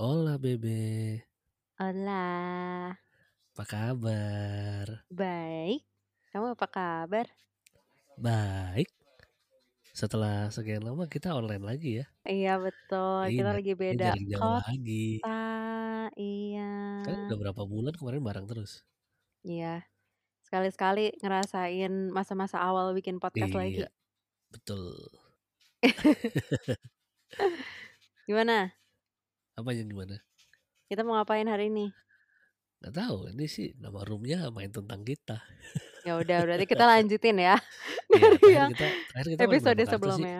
Hola Bebe, Olah, apa kabar? baik. Kamu apa kabar? Baik. Setelah sekian lama kita online lagi ya. Iya betul, Iya, kita lagi ini beda jarak jauh kota. lagi. Iya, Kan udah berapa bulan kemarin bareng terus. iya. Sekali-sekali ngerasain masa-masa awal bikin Iya, podcast lagi. betul. Gimana? Apa yang gimana? Kita mau ngapain hari ini? Gak tahu. Ini sih nama roomnya main tentang kita. Ya udah, berarti kita lanjutin ya Iya, dari terakhir yang kita terakhir kita main episode berapa kartu sih? sebelumnya.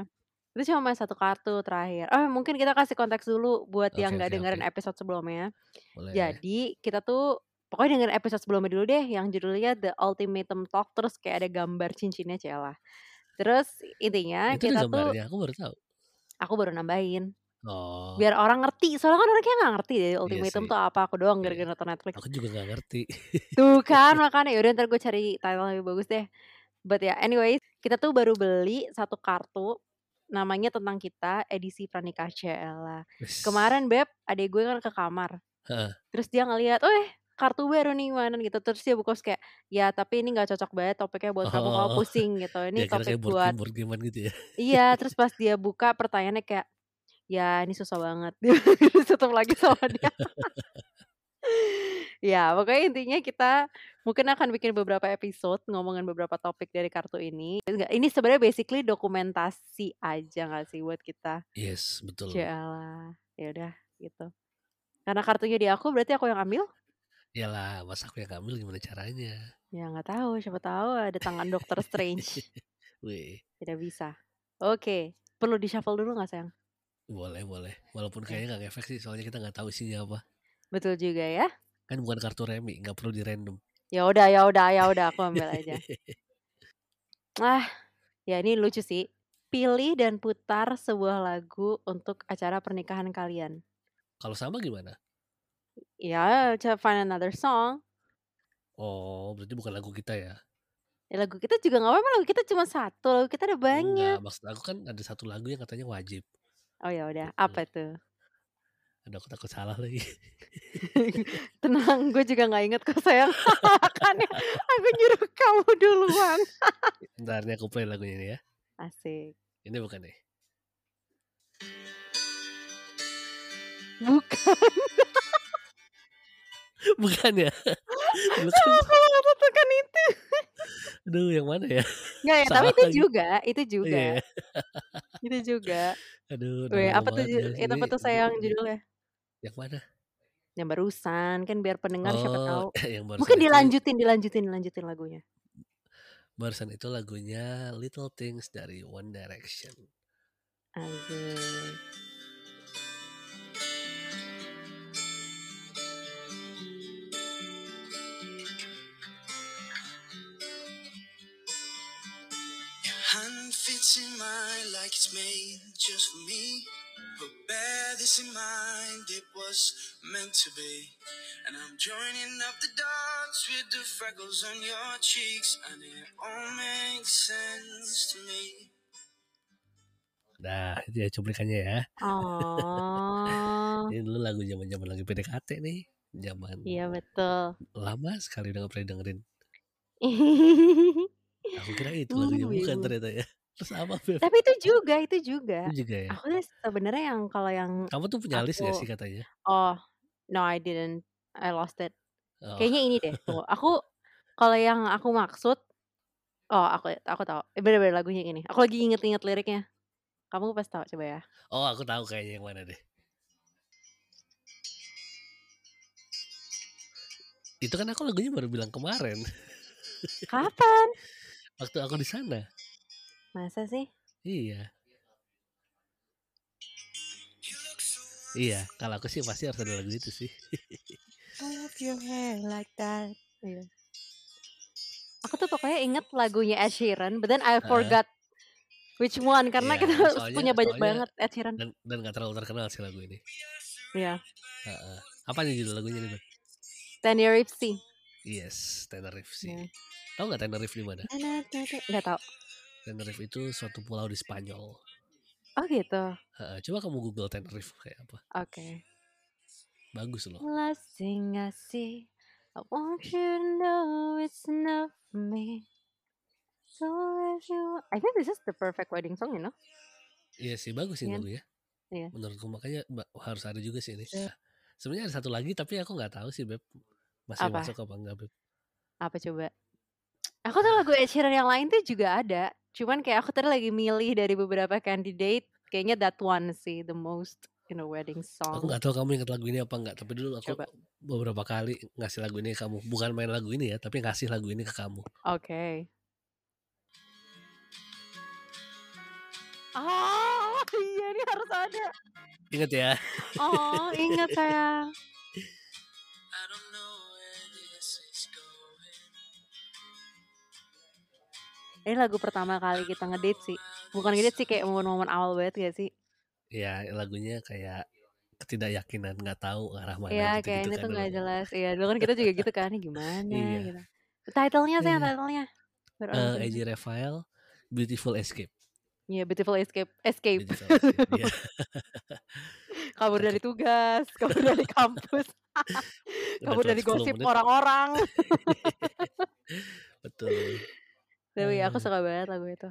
Itu cuma main satu kartu terakhir. Oh, mungkin kita kasih konteks dulu buat Oke yang nggak oke oke, dengerin episode sebelumnya. Ya, boleh. Jadi kita tuh pokoknya dengerin episode sebelumnya dulu deh yang judulnya The Ultimatum Talk terus kayak ada gambar cincinnya Cela. Terus intinya Itu ada kita tuh gambarnya. Aku baru tahu. aku baru nambahin Oh, biar orang ngerti. Soalnya kan orang kayak nggak ngerti deh iya Ultimatum sih. tuh apa. Aku doang Iya. gara-gara nonton Netflix. Aku juga gak ngerti. Tuh kan makanya yaudah ntar gue cari title lebih bagus deh. But ya anyway kita tuh baru beli satu kartu namanya tentang kita edisi pranikah Cela. Wis. Kemarin Beb adek gue kan ke kamar Heeh. terus dia ngeliat, eh kartu baru nih mana gitu terus dia buka terus kayak ya tapi ini nggak cocok banget topiknya buat kamu kamu Oh, pusing gitu ini dia kira topik kayak board buat game, board gamean gitu ya. iya terus pas dia buka pertanyaannya kayak ya ini susah banget dia tutup lagi sama dia ya pokoknya intinya kita mungkin akan bikin beberapa episode ngomongin beberapa topik dari kartu ini Enggak, ini sebenarnya basically dokumentasi aja nggak sih buat kita Yes, Iya. betul. Jalah ya udah gitu karena kartunya di aku berarti aku yang ambil Iyalah, mas aku yang ngambil gimana caranya? ya nggak tahu siapa tahu ada tangan dokter strange Wih, tidak bisa oke perlu di shuffle dulu nggak sayang boleh boleh. Walaupun oke kayaknya nggak efek sih, soalnya kita nggak tahu isinya apa. betul juga ya Kan bukan kartu remi, nggak perlu di random. ya udah ya udah ya udah aku ambil aja ah ya ini lucu sih pilih dan putar sebuah lagu untuk acara pernikahan kalian Kalau sama gimana? ya coba find another song Oh, berarti bukan lagu kita ya? Ya, lagu kita juga nggak apa-apa lagu kita cuma satu lagu kita ada Enggak, banyak maksud aku kan ada satu lagu yang katanya wajib. oh ya udah Mm-mm. apa tuh Ada aku takut salah lagi. tenang gue juga nggak inget kok sayang kan ya aku nyuruh kamu duluan Ntar nih aku play lagunya ini ya. asik Ini bukan nih. bukan bukan ya? Bukan. aku nggak tentukan itu Aduh, yang mana ya? nggak ya tapi salah itu lagi. juga itu Iya juga ya. itu juga Aduh, udah Weh, lama apa tuh banget ju- guys ini. itu apa tuh Aduh, sayang aduh. judulnya Yang mana? yang barusan kan biar pendengar siapa Oh, tahu yang mungkin barusan itu dilanjutin dilanjutin dilanjutin lagunya barusan itu lagunya Little Things dari One Direction. Asik. Your hand fits in mine like it's made just for me. But bear this in mind, it was meant to be. And I'm joining up the dots with the freckles on your cheeks, and it all makes sense to me. Nah, itu ya cuplikannya ya. Oh, Ini dulu lagu zaman zaman lagi PDKT nih. Zaman iya betul. lama sekali udah gak pernah dengerin. Aku kira itu lagunya uh, bukan bingung. ternyata ya. Terus apa Beb? Tapi itu juga, itu juga. Itu juga ya. Aku tuh sebenarnya yang kalau yang Kamu tuh punya list gak aku sih katanya? oh no I didn't I lost it. Oh, Kayaknya ini deh. Tunggu. Aku kalau yang aku maksud oh aku aku tahu. Eh, Bener-bener lagunya yang ini. Aku lagi inget-inget liriknya. Kamu pasti tahu coba ya. oh aku tahu kayaknya yang mana deh. Itu kan aku lagunya baru bilang kemarin Kapan? waktu aku di sana. Masa sih? Iya, You look so iya. wonderful. Kalau aku sih pasti harus ada lagu itu sih. I love your hair like that. Iya. Aku tuh pokoknya inget lagunya Ed Sheeran, but then I Heeh. forgot which one karena Iya, kita soalnya punya banyak soalnya banget Ed Sheeran. dan dan gak terlalu terkenal sih lagu ini. We are Iya. surrounded by Heeh. all Apa nih judul lagunya nih? Beb? Tanya Ripsey. Yes, Tenerife sih. Hmm. Tahu nggak Tenerife di mana? Iya. Nggak tahu. Tenerife itu suatu pulau di Spanyol. Oh gitu. Heeh, coba kamu Google Tenerife kayak apa. Oke. Bagus loh. Last thing I see, I want you to know it's enough for me. So if you, I think this is the perfect wedding song, you know? Iya sih bagus sih Iya. dulu ya. Iya. Menurutku makanya ba- harus ada juga sih ini. Sebenarnya ada satu lagi tapi aku nggak tahu sih beb masih Apa? masuk apa enggak beb. Apa coba? Aku tuh lagu Ed Sheeran yang lain tuh juga ada. Cuman kayak aku tadi lagi milih dari beberapa candidate, kayaknya that one sih the most in a wedding Aku song. nggak tahu kamu ingat lagu ini apa enggak tapi dulu aku Oh. Coba. beberapa kali ngasih lagu ini ke kamu. Bukan main lagu ini ya tapi ngasih lagu ini ke kamu. Oke. Oh iya ini harus ada. Ingat ya. Oh ingat saya. I don't know where this is going. Ini lagu pertama kali kita ngedate sih. Bukan ngedate sih kayak momen-momen awal banget gak sih? Ya lagunya kayak ketidakyakinan nggak tahu arah mana Iya gitu-gitu kayak ini kan tuh gak dulu. jelas. Iya dulu kan kita juga gitu kan. Ini gimana Iya. gitu. Titlenya saya Iya. titlenya. Biar Eh, orang AJ tahu. Raphael Beautiful Escape. Iya Beautiful Escape. Escape. Beautiful Escape. Iya. Kabur dari tugas. Kabur dari kampus. kabur Udah dari 10 gosip menit. orang-orang. Betul. Tapi ya, aku Eh, suka banget lagu itu.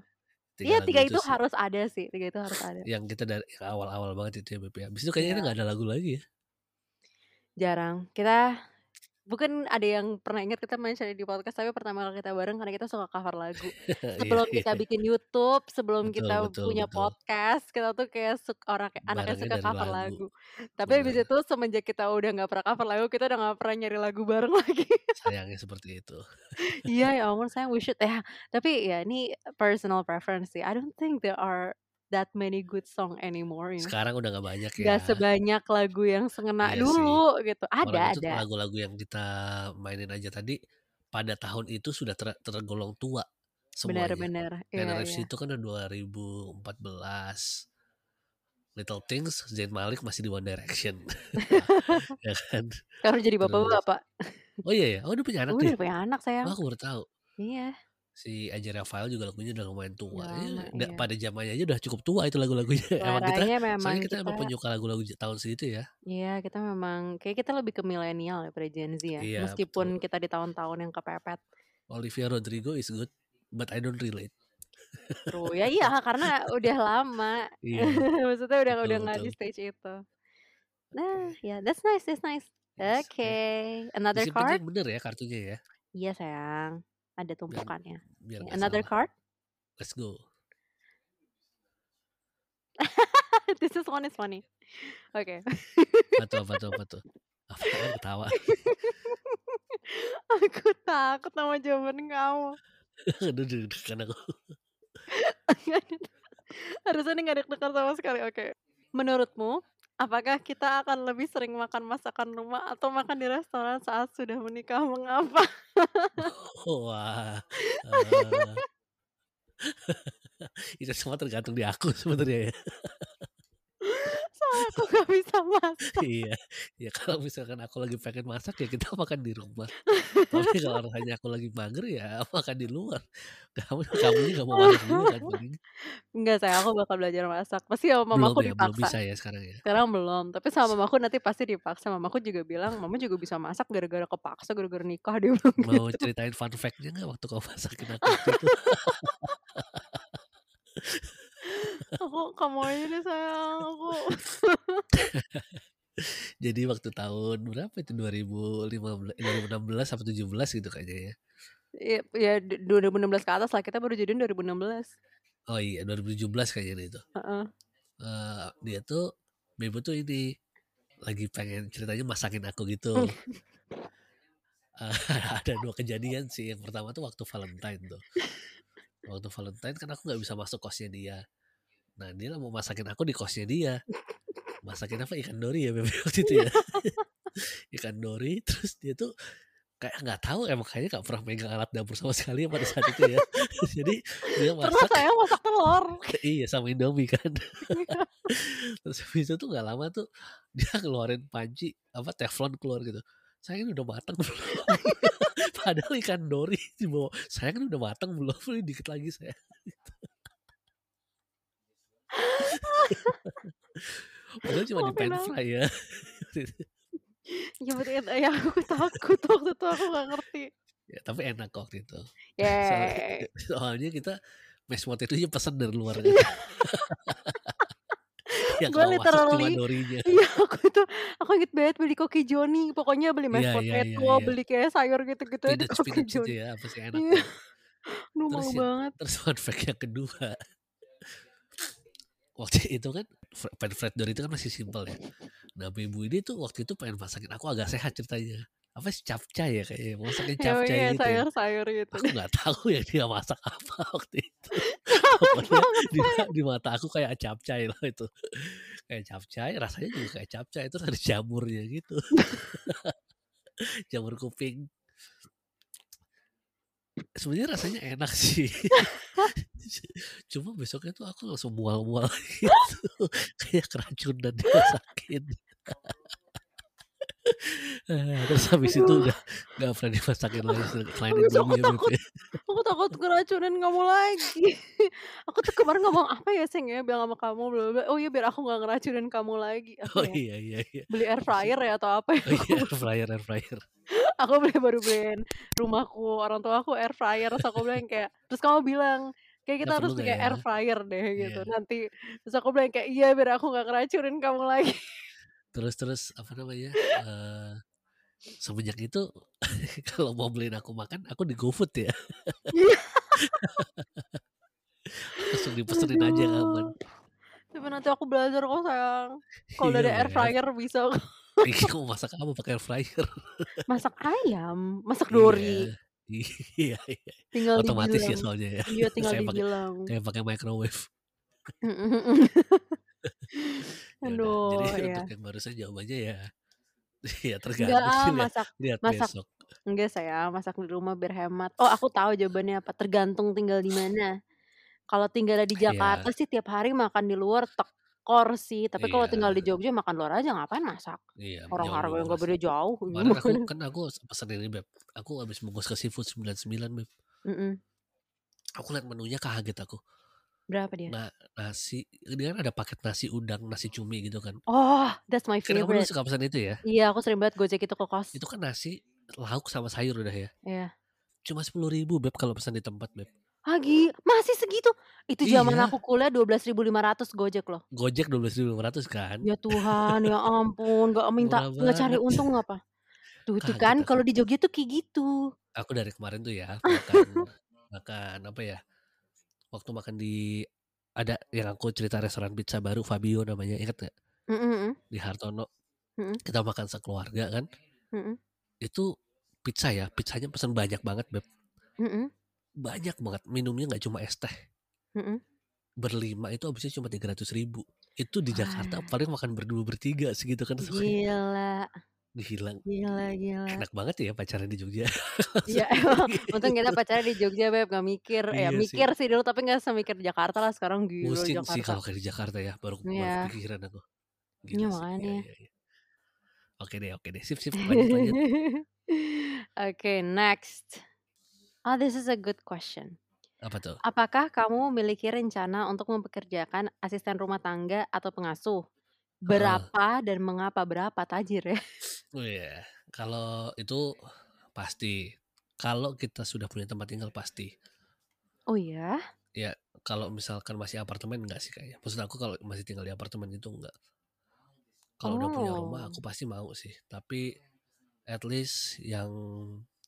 Iya tiga lagu itu sih. harus ada sih. Tiga itu harus ada. yang kita dari yang awal-awal banget itu ya Beb ya. Abis itu kayaknya Iya. kita nggak ada lagu lagi ya. Jarang. Kita Bukan ada yang pernah ingat kita mention di podcast tapi pertama kali kita bareng karena kita suka cover lagu. Iya, sebelum iya. kita bikin YouTube, sebelum Betul, kita betul, punya betul. podcast, kita tuh kayak suka orang anaknya Barangnya suka dari cover lagu. lagu. Tapi habis Bener. itu semenjak kita udah nggak pernah cover lagu, kita udah nggak pernah nyari lagu bareng lagi. Sayangnya seperti itu. Iya ya ampun sayang we should ya. Tapi ya ini personal preference sih. I don't think there are that many good song anymore. You know? Sekarang udah nggak banyak ya. Gak sebanyak lagu yang Iya sengena sih. dulu gitu. Ada Orang itu ada. lagu-lagu yang kita mainin aja tadi pada tahun itu sudah ter- tergolong tua semuanya. Benar-benar. Iya, Tenerife iya. itu kan udah 2014. Little Things, Zayn Malik masih di One Direction. ya kan? iya. Kalau jadi bapak-bapak. Oh iya ya, oh dia punya anak Udah nih. punya anak Oh, sayang. aku baru tahu. Iya. Si Aja Rafael juga lagunya udah lumayan tua. Udah Ya, lama, da- iya. Pada zamannya aja udah cukup tua itu lagu-lagunya. emang kita, Suaranya memang soalnya kita, kita emang penyuka lagu-lagu j- tahun segitu ya. Iya, kita memang kayak kita lebih ke milenial daripada Gen Z ya. Iya, Meskipun kita di tahun-tahun yang kepepet. Olivia Rodrigo is good, but I don't relate. True. Ya iya, karena udah lama. Iya. Maksudnya udah Betul, udah nggak di betul. stage itu. Nah, ya that's nice, that's nice. Yes, Oke, another Disimpan card? yang bener ya kartunya ya. Iya sayang, ada tumpukannya. Biar Oke, nggak Ya, Another salah. card? Let's go. This is one is funny. Oke, Apa tuh, apa tuh, apa tuh. Apaan ketawa. aku takut sama jawaban kamu. Aduh, aduh, aduh, kan aku. Harusnya ini nggak deg-degan sama sekali. Oke. Menurutmu, apakah kita akan lebih sering makan masakan rumah atau makan di restoran saat sudah menikah? Mengapa? Wah. eh. itu semua tergantung di aku sebenarnya ya. Soalnya aku nggak bisa masak. iya. Ya kalau misalkan aku lagi pengen masak ya kita makan di rumah. Tapi kalau rasanya aku lagi mager ya makan di luar. Kamu kamu nggak mau masak juga kan? paling. Enggak, saya aku bakal belajar masak. Pasti sama Belum mamaku ya, belum dipaksa. bisa ya sekarang ya. Sekarang belum, tapi sama mamaku nanti pasti dipaksa. Mamaku juga bilang, mama juga bisa masak gara-gara kepaksa, gara-gara nikah dia bilang Mau gitu. ceritain fun fact-nya nggak waktu kau masakin aku waktu itu? Aku "Oh, kamu aja deh sayang, aku. Jadi waktu tahun berapa itu 2015 2016 sampai 17 gitu kayaknya ya. Ya, ya 2016 ke atas lah, kita baru jadian 2016. Oh iya 2017 kayaknya itu. Heeh. eh dia tuh Bebo tuh ini lagi pengen ceritanya masakin aku gitu. Eh, ada dua kejadian sih. Yang pertama tuh waktu Valentine tuh. Waktu Valentine kan aku nggak bisa masuk kosnya dia. Nah dia mau masakin aku di kosnya dia. Masakin apa ikan dori ya Bebo waktu itu ya. ikan dori. Terus dia tuh kayak nggak tahu emang kayaknya nggak pernah megang alat dapur sama sekali pada saat itu ya. Jadi dia Pernah masak saya masak telur. iya sama Indomie kan. Iya. Terus habis itu tuh gak lama tuh dia ngeluarin panci apa teflon keluar gitu. saya ini udah matang belum? Padahal ikan dori dibawa, saya kan udah matang belum? Ini dikit lagi saya. Padahal cuma Oh, di pan kenapa? fry ya. Ya betul ya aku takut waktu itu aku gak ngerti. Iya, ya. Tapi enak kok waktu itu. Yeay. Soalnya kita mashed potato aja pesen dari luar. kan. Iya. ya Gua kalau masak cuma literally- dorinya. Iya aku itu aku inget banget beli koki Joni pokoknya beli mashed Iya, iya, iya, potato iya. beli kayak sayur gitu-gitu di Spinach, koki spinach aja Joni. ya, apa sih enak. Iya. Lu Terus mau ya, banget. Terus fun fact yang kedua. Waktu itu kan fr- pan fried dory itu kan masih simpel ya. Nah bu ibu ini tuh waktu itu pengen masakin aku agak sehat ceritanya. Apa sih capcay ya kayaknya. mau Masakin Ya, capcay iya, gitu. ya. sayur-sayur gitu. Aku nggak tahu ya dia masak apa waktu itu. Pokoknya di, di mata aku kayak capcay loh itu. Kayak capcay, rasanya juga kayak capcay. Terus ada jamurnya gitu. Jamur kuping. Sebenarnya rasanya enak sih. Cuma besoknya tuh aku langsung mual-mual gitu. kayak keracunan dimasakin. Eh, Terus habis itu Aduh. udah nggak pernah dimasakin lagi sel- selain Aku itu takut- aku takut keracunan kamu lagi aku tuh kemarin ngomong apa ya seng ya bilang sama kamu bla bla bla. oh iya biar aku nggak ngeracunin kamu lagi Aku Oh ya, iya iya iya. beli air fryer ya atau apa ya Oh, iya air fryer air fryer. aku beli baru beliin rumahku orang tua aku air fryer terus aku bilang kayak terus kamu bilang kayak Nggak kita harus perlu punya nggak air ya? fryer deh gitu Iya. nanti terus aku bilang kayak iya biar aku nggak ngeracunin kamu lagi Terus terus apa namanya? eh semenjak itu kalau mau beliin aku makan aku di GoFood ya. Iya. Langsung dipesenin aja kan? kapan. Aduh. tapi nanti aku belajar kok sayang kalau udah Iya, ada air Mer. fryer bisa Ini kamu masak apa pakai air fryer? masak ayam masak dori Iya, iya, iya. tinggal Otomatis ya dibilang soalnya ya. iya tinggal Saya pakai- dibilang Kayak pakai microwave. Ya udah, Aduh, Jadi ya. untuk yang barusan jawabannya ya ya Enggak, tergantung ah, sih lihat, masak. lihat masak. besok. Enggak saya masak di rumah biar hemat. Oh, aku tahu jawabannya apa. Tergantung tinggal di mana. Kalau tinggal di Iya. Jakarta sih tiap hari makan di luar tekor sih. Tapi kalau Iya. tinggal di Jogja makan luar aja ngapain masak? Iya, Orang jauh harga lebih yang gak murah. beda jauh. Kemarin aku kan aku pesen ini beb. Aku habis bungkus ke seafood 99 beb. Mm-mm. Aku lihat menunya kaget aku. Berapa Nah dia? Nasi, dia kan ada paket nasi udang, nasi cumi gitu kan. Oh, that's my Kan kamu dulu favorite. suka pesan itu ya? Iya, aku sering banget gojek itu ke kos. Itu kan nasi lauk sama sayur udah ya. Iya. Cuma sepuluh ribu beb kalau pesan di tempat beb. Lagi masih segitu. Itu zaman Iya. aku kuliah 12.500 gojek loh. Gojek dua belas kan. Ya Tuhan, ya ampun, gak minta, Murah gak cari banget. untung apa? Tuh, Kaget tuh kan, aku. kalau di Jogja tuh kayak gitu. Aku dari kemarin tuh ya makan makan apa ya? Waktu makan di ada yang aku cerita restoran pizza baru Fabio namanya ingat gak? Mm-mm, Di Hartono. Mm-mm. Kita makan sekeluarga kan. mm-mm, itu pizza ya pizzanya pesan banyak banget beb mm-mm, banyak banget minumnya nggak cuma es teh mm-mm. berlima itu habisnya cuma tiga ratus ribu itu di Jakarta Wah. Iya. paling makan berdua bertiga segitu kan semuanya Gila, dihilang gila, gila. enak banget ya pacaran di Jogja Iya, emang. untung kita pacarnya di Jogja, Beb, gak mikir. Ya, Iya sih. mikir sih dulu, tapi gak semikir di Jakarta lah sekarang gila pusing sih Jakarta. kalau kayak di Jakarta ya baru Iya. baru kepikiran aku Gila Iya, sih, makanya. iya, iya. oke deh oke deh sip sip lanjut lanjut Oke, next. Oh, this is a good question. apa tuh Apakah kamu memiliki rencana untuk mempekerjakan asisten rumah tangga atau pengasuh? Berapa dan mengapa berapa tajir ya? oh iya. kalau itu pasti kalau kita sudah punya tempat tinggal pasti Oh iya, kalau misalkan masih apartemen enggak sih kayaknya. Maksud aku kalau masih tinggal di apartemen itu enggak. Kalau udah punya rumah Oh. aku pasti mau sih. Tapi at least yang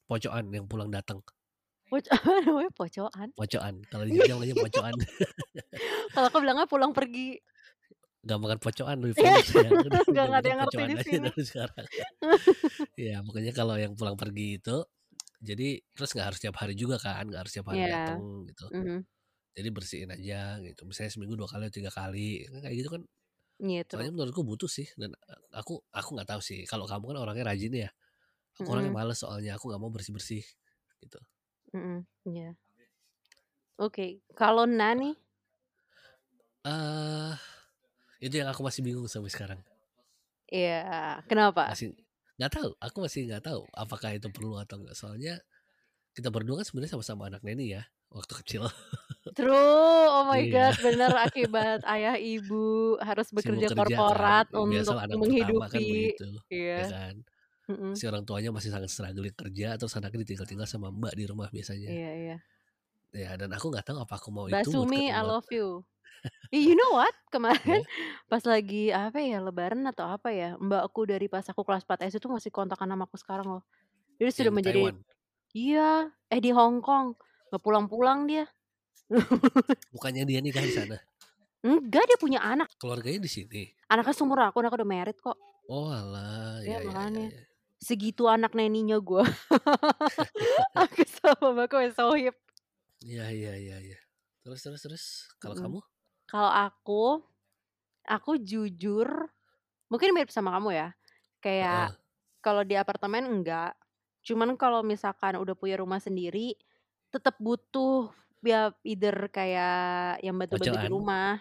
pocokan yang pulang datang Poc- apa namanya pocoan. pocokan kalau di Jogja namanya pocokan Kalau aku bilangnya pulang pergi, nggak makan pocokan lebih Iya, famous ya Udah, nggak udah bilang ada yang ngerti pocokan di aja sini. dari sekarang ya makanya kalau yang pulang pergi itu jadi terus nggak harus tiap hari juga kan nggak harus tiap hari Iya. datang gitu Mhm, jadi bersihin aja gitu misalnya seminggu dua kali atau tiga kali Kan kayak gitu kan gitu. soalnya menurutku butuh sih dan e, aku aku nggak tahu sih kalau kamu kan orangnya rajin ya aku orangnya Mm-mm. males soalnya aku nggak mau bersih bersih gitu Mm-mm, iya. Oke, kalau Nani, eh itu yang aku masih bingung sampai sekarang ya kenapa? masih nggak tahu aku masih nggak tahu apakah itu perlu atau enggak soalnya kita berdua kan sebenarnya sama-sama anak neni ya waktu kecil True, oh my Iya. god, bener akibat ayah ibu harus bekerja Sibuk kerja, korporat kan. untuk Biasalah anak pertama kan menghidupi. begitu Iya. ya kan Mm-mm. si orang tuanya masih sangat struggling kerja terus anaknya ditinggal-tinggal sama mbak di rumah biasanya Iya, iya. ya dan aku nggak tahu apa aku mau Oh, itu buat Basumi, I ketemu- love you. Eh, you know what? Iya. Kemarin pas lagi apa ya lebaran atau apa ya, mbakku dari pas aku kelas 4 SD itu masih kontakan sama aku sekarang loh. Jadi yang sudah menjadi Taiwan. iya, eh di Hong Kong. Gak pulang-pulang dia. bukannya dia kan, nikah di sana Enggak, dia punya anak. keluarganya di sini Anaknya seumur aku, dan aku udah merit kok. oh alah ya, ya, Iya, ya, makanya. ya. Segitu anak neninya gua. aku sama mbakku yang sohib. Iya iya iya iya. Terus terus terus kalau Mm-mm. kamu Kalau aku, aku jujur, mungkin mirip sama kamu ya. Kayak Heeh. kalau di apartemen enggak. Cuman kalau misalkan udah punya rumah sendiri, tetap butuh ya either kayak yang bantu-bantu di Bacaan. rumah.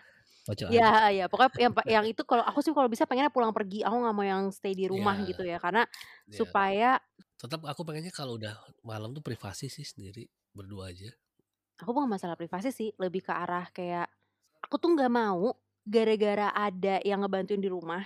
bacaan. Ya, ya pokoknya yang pa- yang itu kalau aku sih kalau bisa pengennya pulang pergi. Aku nggak mau yang stay di rumah Ya. gitu ya, karena Iya. supaya Tetap aku pengennya kalau udah malam tuh privasi sih sendiri berdua aja. aku bukan masalah privasi sih, lebih ke arah kayak aku tuh nggak mau gara-gara ada yang ngebantuin di rumah.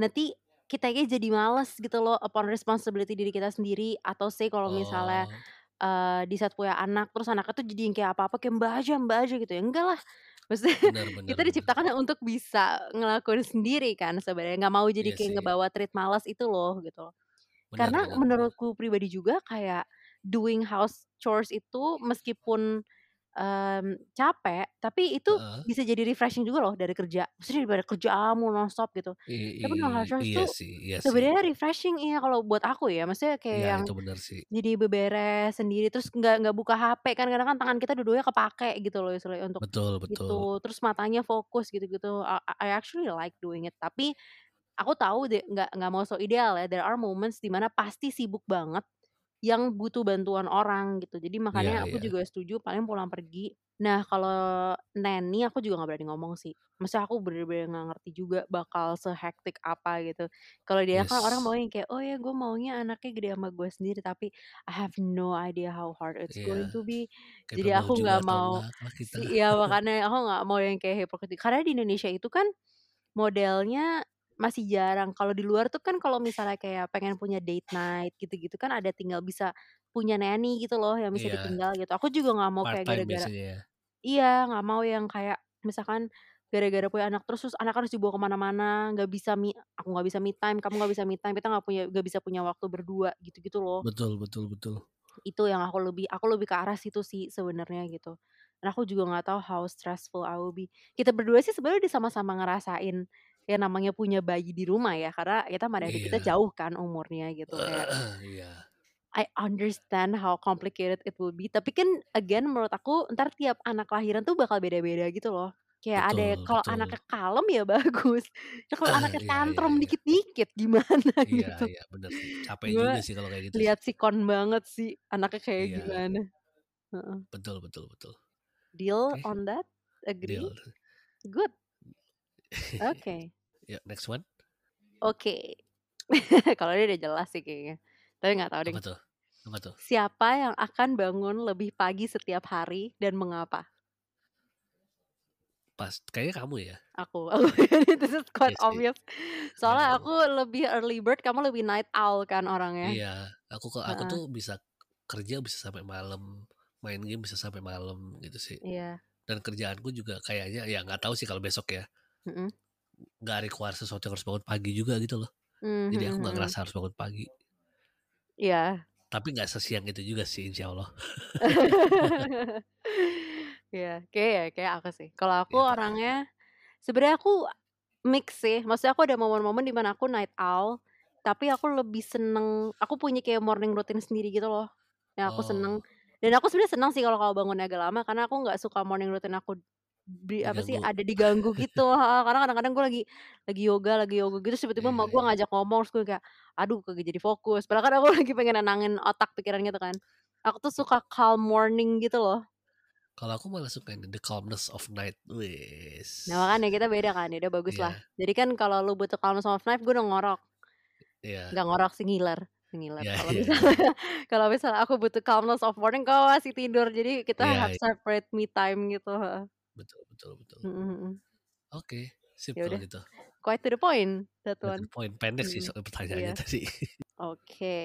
Nanti kita jadi males gitu loh upon responsibility diri kita sendiri atau sih kalau misalnya Oh, eh di saat punya anak terus anaknya tuh jadi yang kayak apa-apa kayak mbak aja mbak aja gitu ya enggak lah maksudnya benar benar. kita benar. diciptakan untuk bisa ngelakuin sendiri kan sebenarnya nggak mau jadi Iya kayak sih. ngebawa treat malas itu loh gitu loh. Benar, karena benar, menurutku pribadi juga kayak doing house chores itu meskipun em, capek tapi itu benar. Heeh. bisa jadi refreshing juga loh dari kerja maksudnya daripada kerja kamu nonstop gitu I- tapi no i- house chores iya tuh sih, iya sih. sebenarnya refreshing iya kalau buat aku ya maksudnya kayak Ya yang itu benar sih. jadi beberes sendiri terus nggak nggak buka HP kan kadang kan tangan kita dua-duanya kepake gitu loh Yusle, untuk Betul betul. gitu terus matanya fokus gitu-gitu I, I actually like doing it tapi aku tahu deh nggak nggak mau so ideal ya there are moments dimana pasti sibuk banget yang butuh bantuan orang gitu jadi Iya makanya aku iya. juga setuju paling pulang pergi nah kalau neni aku juga nggak berani ngomong sih maksudnya aku bener-bener nggak ngerti juga bakal sehektik apa gitu kalau dia kan orang Yes. mau yang kayak oh ya gue maunya anaknya gede sama gue sendiri tapi I have no idea how hard it's going Iya. to be jadi Capable aku juga nggak atau mau enggak lah kita. sih ya makanya aku nggak mau yang kayak hipokritik karena di Indonesia itu kan modelnya masih jarang kalau di luar tuh kan kalau misalnya kayak pengen punya date night gitu-gitu kan ada tinggal bisa punya nanny gitu loh yang bisa Iya, ditinggal gitu aku juga nggak mau part kayak time gara-gara biasanya ya. iya nggak mau yang kayak misalkan gara-gara punya anak terus, terus anak harus dibawa kemana-mana nggak bisa mi aku nggak bisa me time kamu nggak bisa me time kita nggak punya nggak bisa punya waktu berdua gitu-gitu loh Betul betul betul. itu yang aku lebih aku lebih ke arah situ sih sebenarnya gitu dan aku juga nggak tahu how stressful I will be kita berdua sih sebenarnya udah sama-sama ngerasain ya namanya punya bayi di rumah ya karena kita sama adik kita Iya. jauh kan umurnya gitu kayak Iya. I understand how complicated it will be tapi kan again menurut aku ntar tiap anak lahiran tuh bakal beda-beda gitu loh kayak ada Betul ya kalau betul. anaknya kalem ya bagus Nah, kalau anaknya Iya iya tantrum iya. dikit-dikit gimana Iya, gitu iya, bener sih. Capek gue juga sih kalau kayak gitu sih. lihat sikon banget sih anaknya kayak Iya, gimana Heeh. betul, betul, betul. deal Oke, on that agree deal. good oke ya, next one. oke kalau dia udah jelas sih kayaknya tapi nggak tahu deh Apa tuh? Apa tuh? siapa yang akan bangun lebih pagi setiap hari dan mengapa Pas, kayaknya kamu ya. aku aku this is Iya quite sih. obvious Kayaknya soalnya kamu. aku lebih early bird kamu lebih night owl kan orangnya Iya, aku kok aku Heeh, tuh bisa kerja bisa sampai malam, main game bisa sampai malam gitu sih. iya Dan kerjaanku juga kayaknya ya nggak tahu sih kalau besok ya. Mm-mm. Nggak require sesuatu yang harus bangun pagi juga gitu loh. Mm, Jadi mm, aku mm, nggak mm. ngerasa harus bangun pagi. iya Tapi nggak sesiang itu juga sih, insya Allah. Iya, kayak ya, kayak aku sih. Kalau aku Iya kan? orangnya sebenarnya aku mix sih. Maksudnya aku ada momen-momen di mana aku night owl, tapi aku lebih seneng. Aku punya kayak morning routine sendiri gitu loh, yang aku Oh, seneng. Dan aku sebenarnya seneng sih kalau kau bangun agak lama, karena aku nggak suka morning routine aku di, apa sih diganggu. ada diganggu gitu ha. karena kadang-kadang gue lagi lagi yoga lagi yoga gitu terus tiba-tiba Iya, mau gue iya. ngajak ngomong terus gue kayak aduh kagak jadi fokus padahal kan aku lagi pengen nenangin otak pikiran gitu kan aku tuh suka calm morning gitu loh Kalau aku malah suka ini The Calmness of Night. Wis. Nah makanya kita beda kan, ya udah bagus Iya, lah. Jadi kan kalau lu butuh calm soft knife, gue udah ngorok. Iya. nggak ngorok sih ngiler ngiler Iya, kalau iya. misalnya kalau misalnya aku butuh calmness of morning kau masih tidur jadi kita Iya, have iya. separate me time gitu heeh. Betul, betul, betul. Mm, mm, mm. Oke, sip Ya kalau udah. gitu. quite to the point that That's one the point pendek sih Mm-mm. soal pertanyaannya Iya. tadi. oke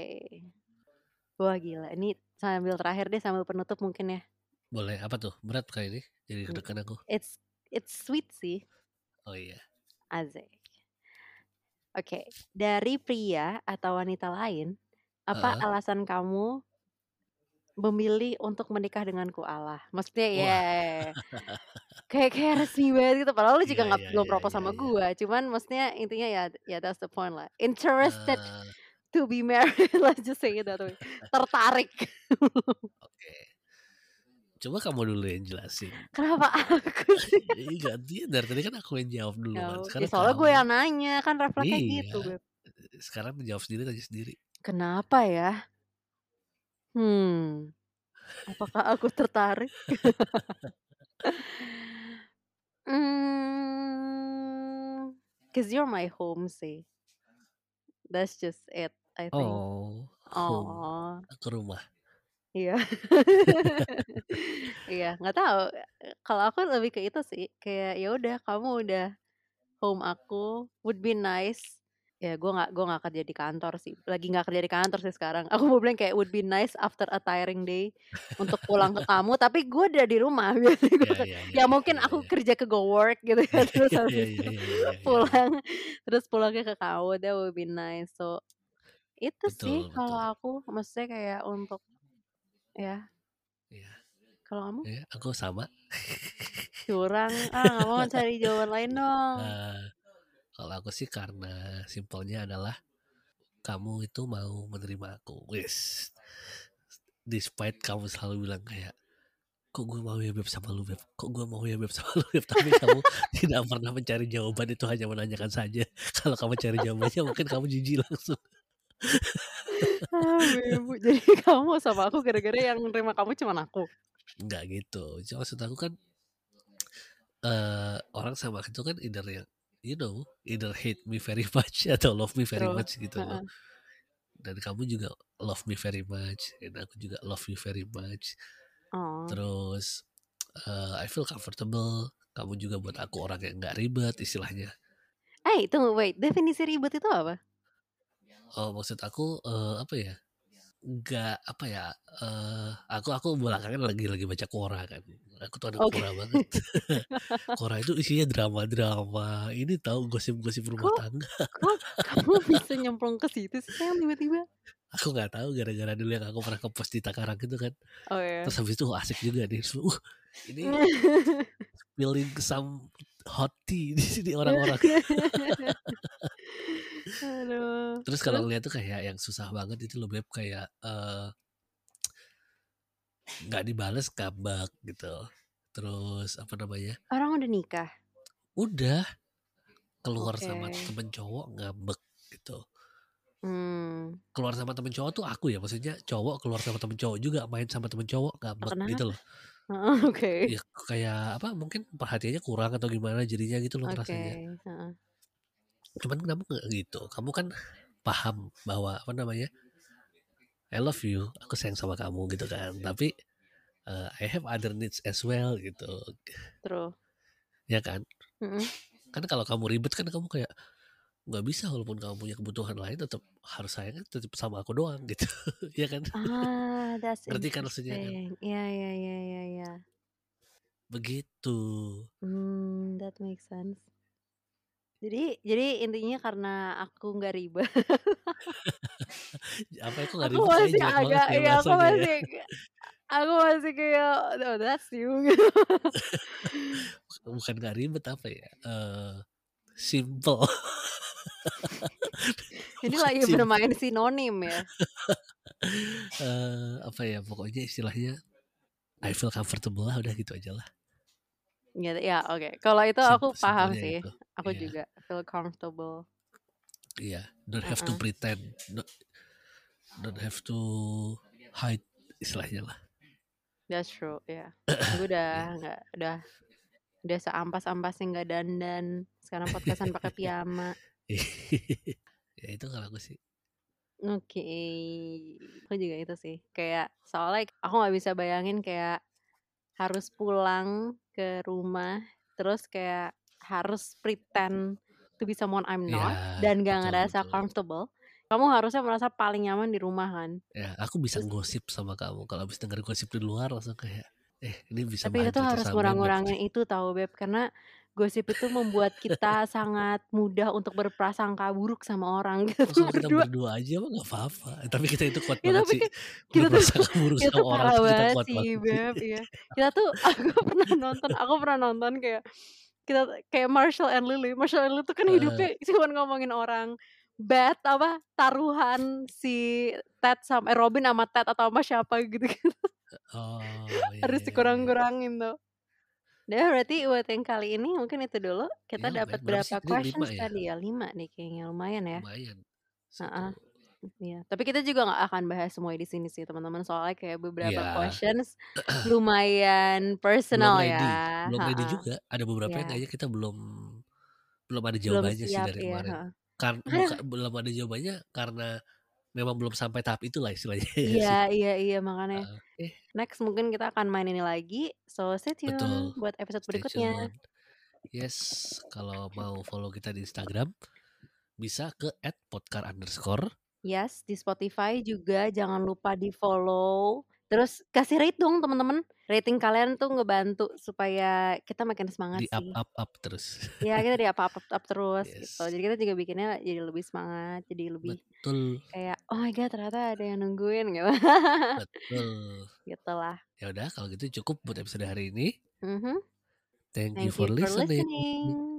wah gila ini sambil terakhir deh sambil penutup mungkin ya Boleh apa tuh? Berat kali ini. Hmm. Jadi kedekan aku. it's it's sweet sih Oh iya. Azek Oke, dari pria atau wanita lain, apa Heeh. alasan kamu memilih untuk menikah dengan koala? Maksudnya Wah. ya kayak kayak resmi banget gitu. Padahal lu juga Iya, nggak iya, belum iya, propose iya, sama iya. gua. Cuman maksudnya intinya ya ya that's the point lah. Interested Ah, to be married, let's just say it that way. Tertarik. Oke. Coba kamu dulu yang jelasin. Kenapa aku sih? Ini gantian dari tadi kan aku yang jawab dulu kan. No. Sekarang Ya, soalnya gue kamu- yang nanya kan refleksnya gitu. Iya. Beb. sekarang menjawab sendiri tanya sendiri. Kenapa ya? Hmm. Apakah aku tertarik? Hmm. Cause you're my home sih. That's just it, I think. Oh, home. Iya. Oh, Ke rumah. iya. Iya, nggak tahu. Kalau aku lebih ke itu sih, kayak ya udah kamu udah home aku would be nice. Ya, gue nggak gue nggak kerja di kantor sih. Lagi nggak kerja di kantor sih sekarang. Aku mau bilang kayak would be nice after a tiring day untuk pulang ke kamu. Tapi gue udah di rumah. Biasanya gua Iya, ke- iya, iya, ya mungkin iya, aku iya. kerja ke go work gitu ya terus Iya, habis iya, itu iya, iya, iya, iya. pulang terus pulangnya ke kamu. That would be nice. So itu sih Betul, kalau betul. aku maksudnya kayak untuk ya Iya. kalau kamu Ya, aku sama. curang ah nggak mau cari jawaban lain dong Eh, kalau aku sih karena simpelnya adalah kamu itu mau menerima aku. Wis. Despite kamu selalu bilang kayak kok gue mau ya beb sama lu beb kok gue mau ya beb sama lu beb tapi kamu tidak pernah mencari jawaban itu hanya menanyakan saja kalau kamu cari jawabannya mungkin kamu jijik langsung ah, ibu jadi kamu sama aku gara-gara yang nerima kamu cuman aku nggak gitu Cuma maksud aku kan eh orang sama itu kan either yang you know either hate me very much atau love me very Betul. much gitu loh Heeh. dan kamu juga love me very much dan aku juga love you very much oh terus eh, I feel comfortable kamu juga buat aku orang yang nggak ribet istilahnya eh tunggu wait definisi ribet itu apa oh maksud aku eh, apa ya nggak apa ya eh aku aku belakangan lagi lagi baca Quora kan aku tuh anak Oke. Quora banget Quora itu isinya drama-drama ini tahu gosip-gosip rumah Kok- tangga kok kamu bisa nyemplung ke situ sih sayang tiba-tiba aku nggak tahu gara-gara dulu yang aku pernah ke pos di Takarang gitu kan oh ya terus habis itu wah, asik juga nih Terus, uh, ini feeling some hot tea di sini orang-orang aduh terus kalau ngeliat tuh kayak yang susah banget itu loh beb kayak eh, nggak dibales kabak gitu terus apa namanya orang udah nikah udah keluar sama Oke. temen cowok ngambek gitu hmm keluar sama temen cowok tuh aku ya maksudnya cowok keluar sama temen cowok juga main sama temen cowok ngambek Kenapa? gitu loh Heeh, oke ya kayak apa mungkin perhatiannya kurang atau gimana jadinya gitu loh oke rasanya Heeh. cuman kenapa nggak gitu kamu kan paham bahwa apa namanya I love you aku sayang sama kamu gitu kan tapi eh, I have other needs as well gitu terus ya kan Heeh. kan kalau kamu ribet kan kamu kayak nggak bisa walaupun kamu punya kebutuhan lain tetap harus sayang tetap sama aku doang gitu ya kan ah that's Ngerti kan maksudnya kan? interesting ya ya ya ya ya begitu Hmm, that makes sense. Jadi, jadi intinya karena aku nggak ribet, apa aku nggak aku ribet kayaknya masih jelek agak, banget ya iya aku bahasanya ya. masih, aku masih kayak, oh that's you gitu. bukan nggak ribet apa ya Eh simple Ini Bukan lagi sih. bermain sinonim ya. Eh, apa ya pokoknya istilahnya I feel comfortable lah udah gitu aja lah Gitu, ya oke. Kalau itu Sim- aku paham simpelnya sih. gitu. Aku Iya. juga feel comfortable. Iya, don't have to Uh-uh. pretend, don't, don't have to hide istilahnya lah. That's true, ya. Iya. Gue udah nggak, udah, udah seampas-ampasnya nggak dandan. Sekarang podcastan pakai piyama. ya itu kalau aku sih Oke, aku juga itu sih. Kayak soalnya aku nggak bisa bayangin kayak harus pulang ke rumah, terus kayak harus pretend to be someone I'm not Ya, dan gak betul, ngerasa betul. comfortable. Kamu harusnya merasa paling nyaman di rumah kan. ya aku bisa gosip sama kamu kalau habis denger gosip di luar langsung kayak eh ini bisa Tapi bahan itu cerita harus sama ngurang-ngurangin Beb. itu tahu beb karena gosip itu membuat kita sangat mudah untuk berprasangka buruk sama orang gitu Langsung kita berdua. berdua aja mah gak apa-apa Eh, Tapi kita itu kuat Ya, banget tapi sih kita Kita tuh- merasa buruk Itu sama orang parah tuh Kita banget kuat sih banget sih. beb iya. kita tuh aku pernah nonton aku pernah nonton kayak kita kayak Marshall and Lily Marshall and Lily tuh kan Eh. hidupnya cuma ngomongin orang bet apa taruhan si Ted sama eh, Robin sama Ted atau sama siapa gitu Oh, iya, harus iya, iya. dikurang-kurangin tuh Nah berarti buat yang kali ini mungkin itu dulu Ya, kita lumayan. dapat Berapa berapa sih? Ini lima questions ya? tadi ya lima nih kayaknya lumayan ya Lumayan Heeh. Satu. Iya, tapi kita juga nggak akan bahas semua di sini sih teman-teman soalnya kayak beberapa Iya. questions lumayan Belum personal ready ya. Belum ready Ha-ha. juga Ada beberapa yang Iya. kayaknya kita belum Belum ada Belum jawabannya sih siap dari ya. kemarin ha. Karena Karena- Belum ada jawabannya Karena Memang belum sampai tahap itulah istilahnya ya nggak Iya sih? iya iya makanya Heeh. Eh, next mungkin kita akan main ini lagi. So stay tune Betul. buat episode Stay berikutnya. tune. Yes, kalau mau follow kita di Instagram bisa ke @podcar underscore. Yes di Spotify juga jangan lupa di follow. Terus kasih rate dong teman-teman. Rating kalian tuh ngebantu supaya kita makin semangat di up sih. up up terus. Ya kita di apa up, up terus gitu. Yes. Jadi kita juga bikinnya jadi lebih semangat, jadi lebih Betul, kayak oh my god ternyata ada yang nungguin gitu betul. gitu lah Ya udah kalau gitu cukup buat episode hari ini. Mhm. Thank, thank you for listening. listening